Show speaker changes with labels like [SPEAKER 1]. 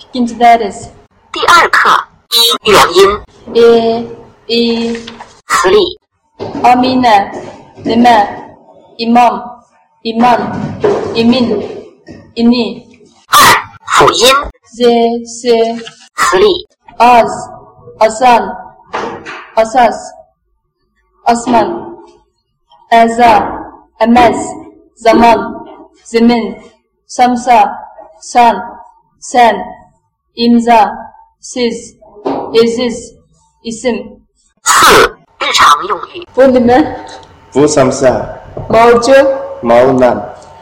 [SPEAKER 1] İkinci deriz.
[SPEAKER 2] 第二课一元音
[SPEAKER 1] E, i,
[SPEAKER 2] 词例
[SPEAKER 1] amine, lime, imam, iman, imin, ini,
[SPEAKER 2] 二辅音
[SPEAKER 1] z, s,
[SPEAKER 2] 词例
[SPEAKER 1] az, asan, asas, asman, eza, emez, zaman, zemin, samsa, san, sen, imza, siz, eziz, isim.
[SPEAKER 2] 四日常用语
[SPEAKER 1] Bu ne?
[SPEAKER 3] Bu samsa,
[SPEAKER 1] Borcu,
[SPEAKER 3] maunan,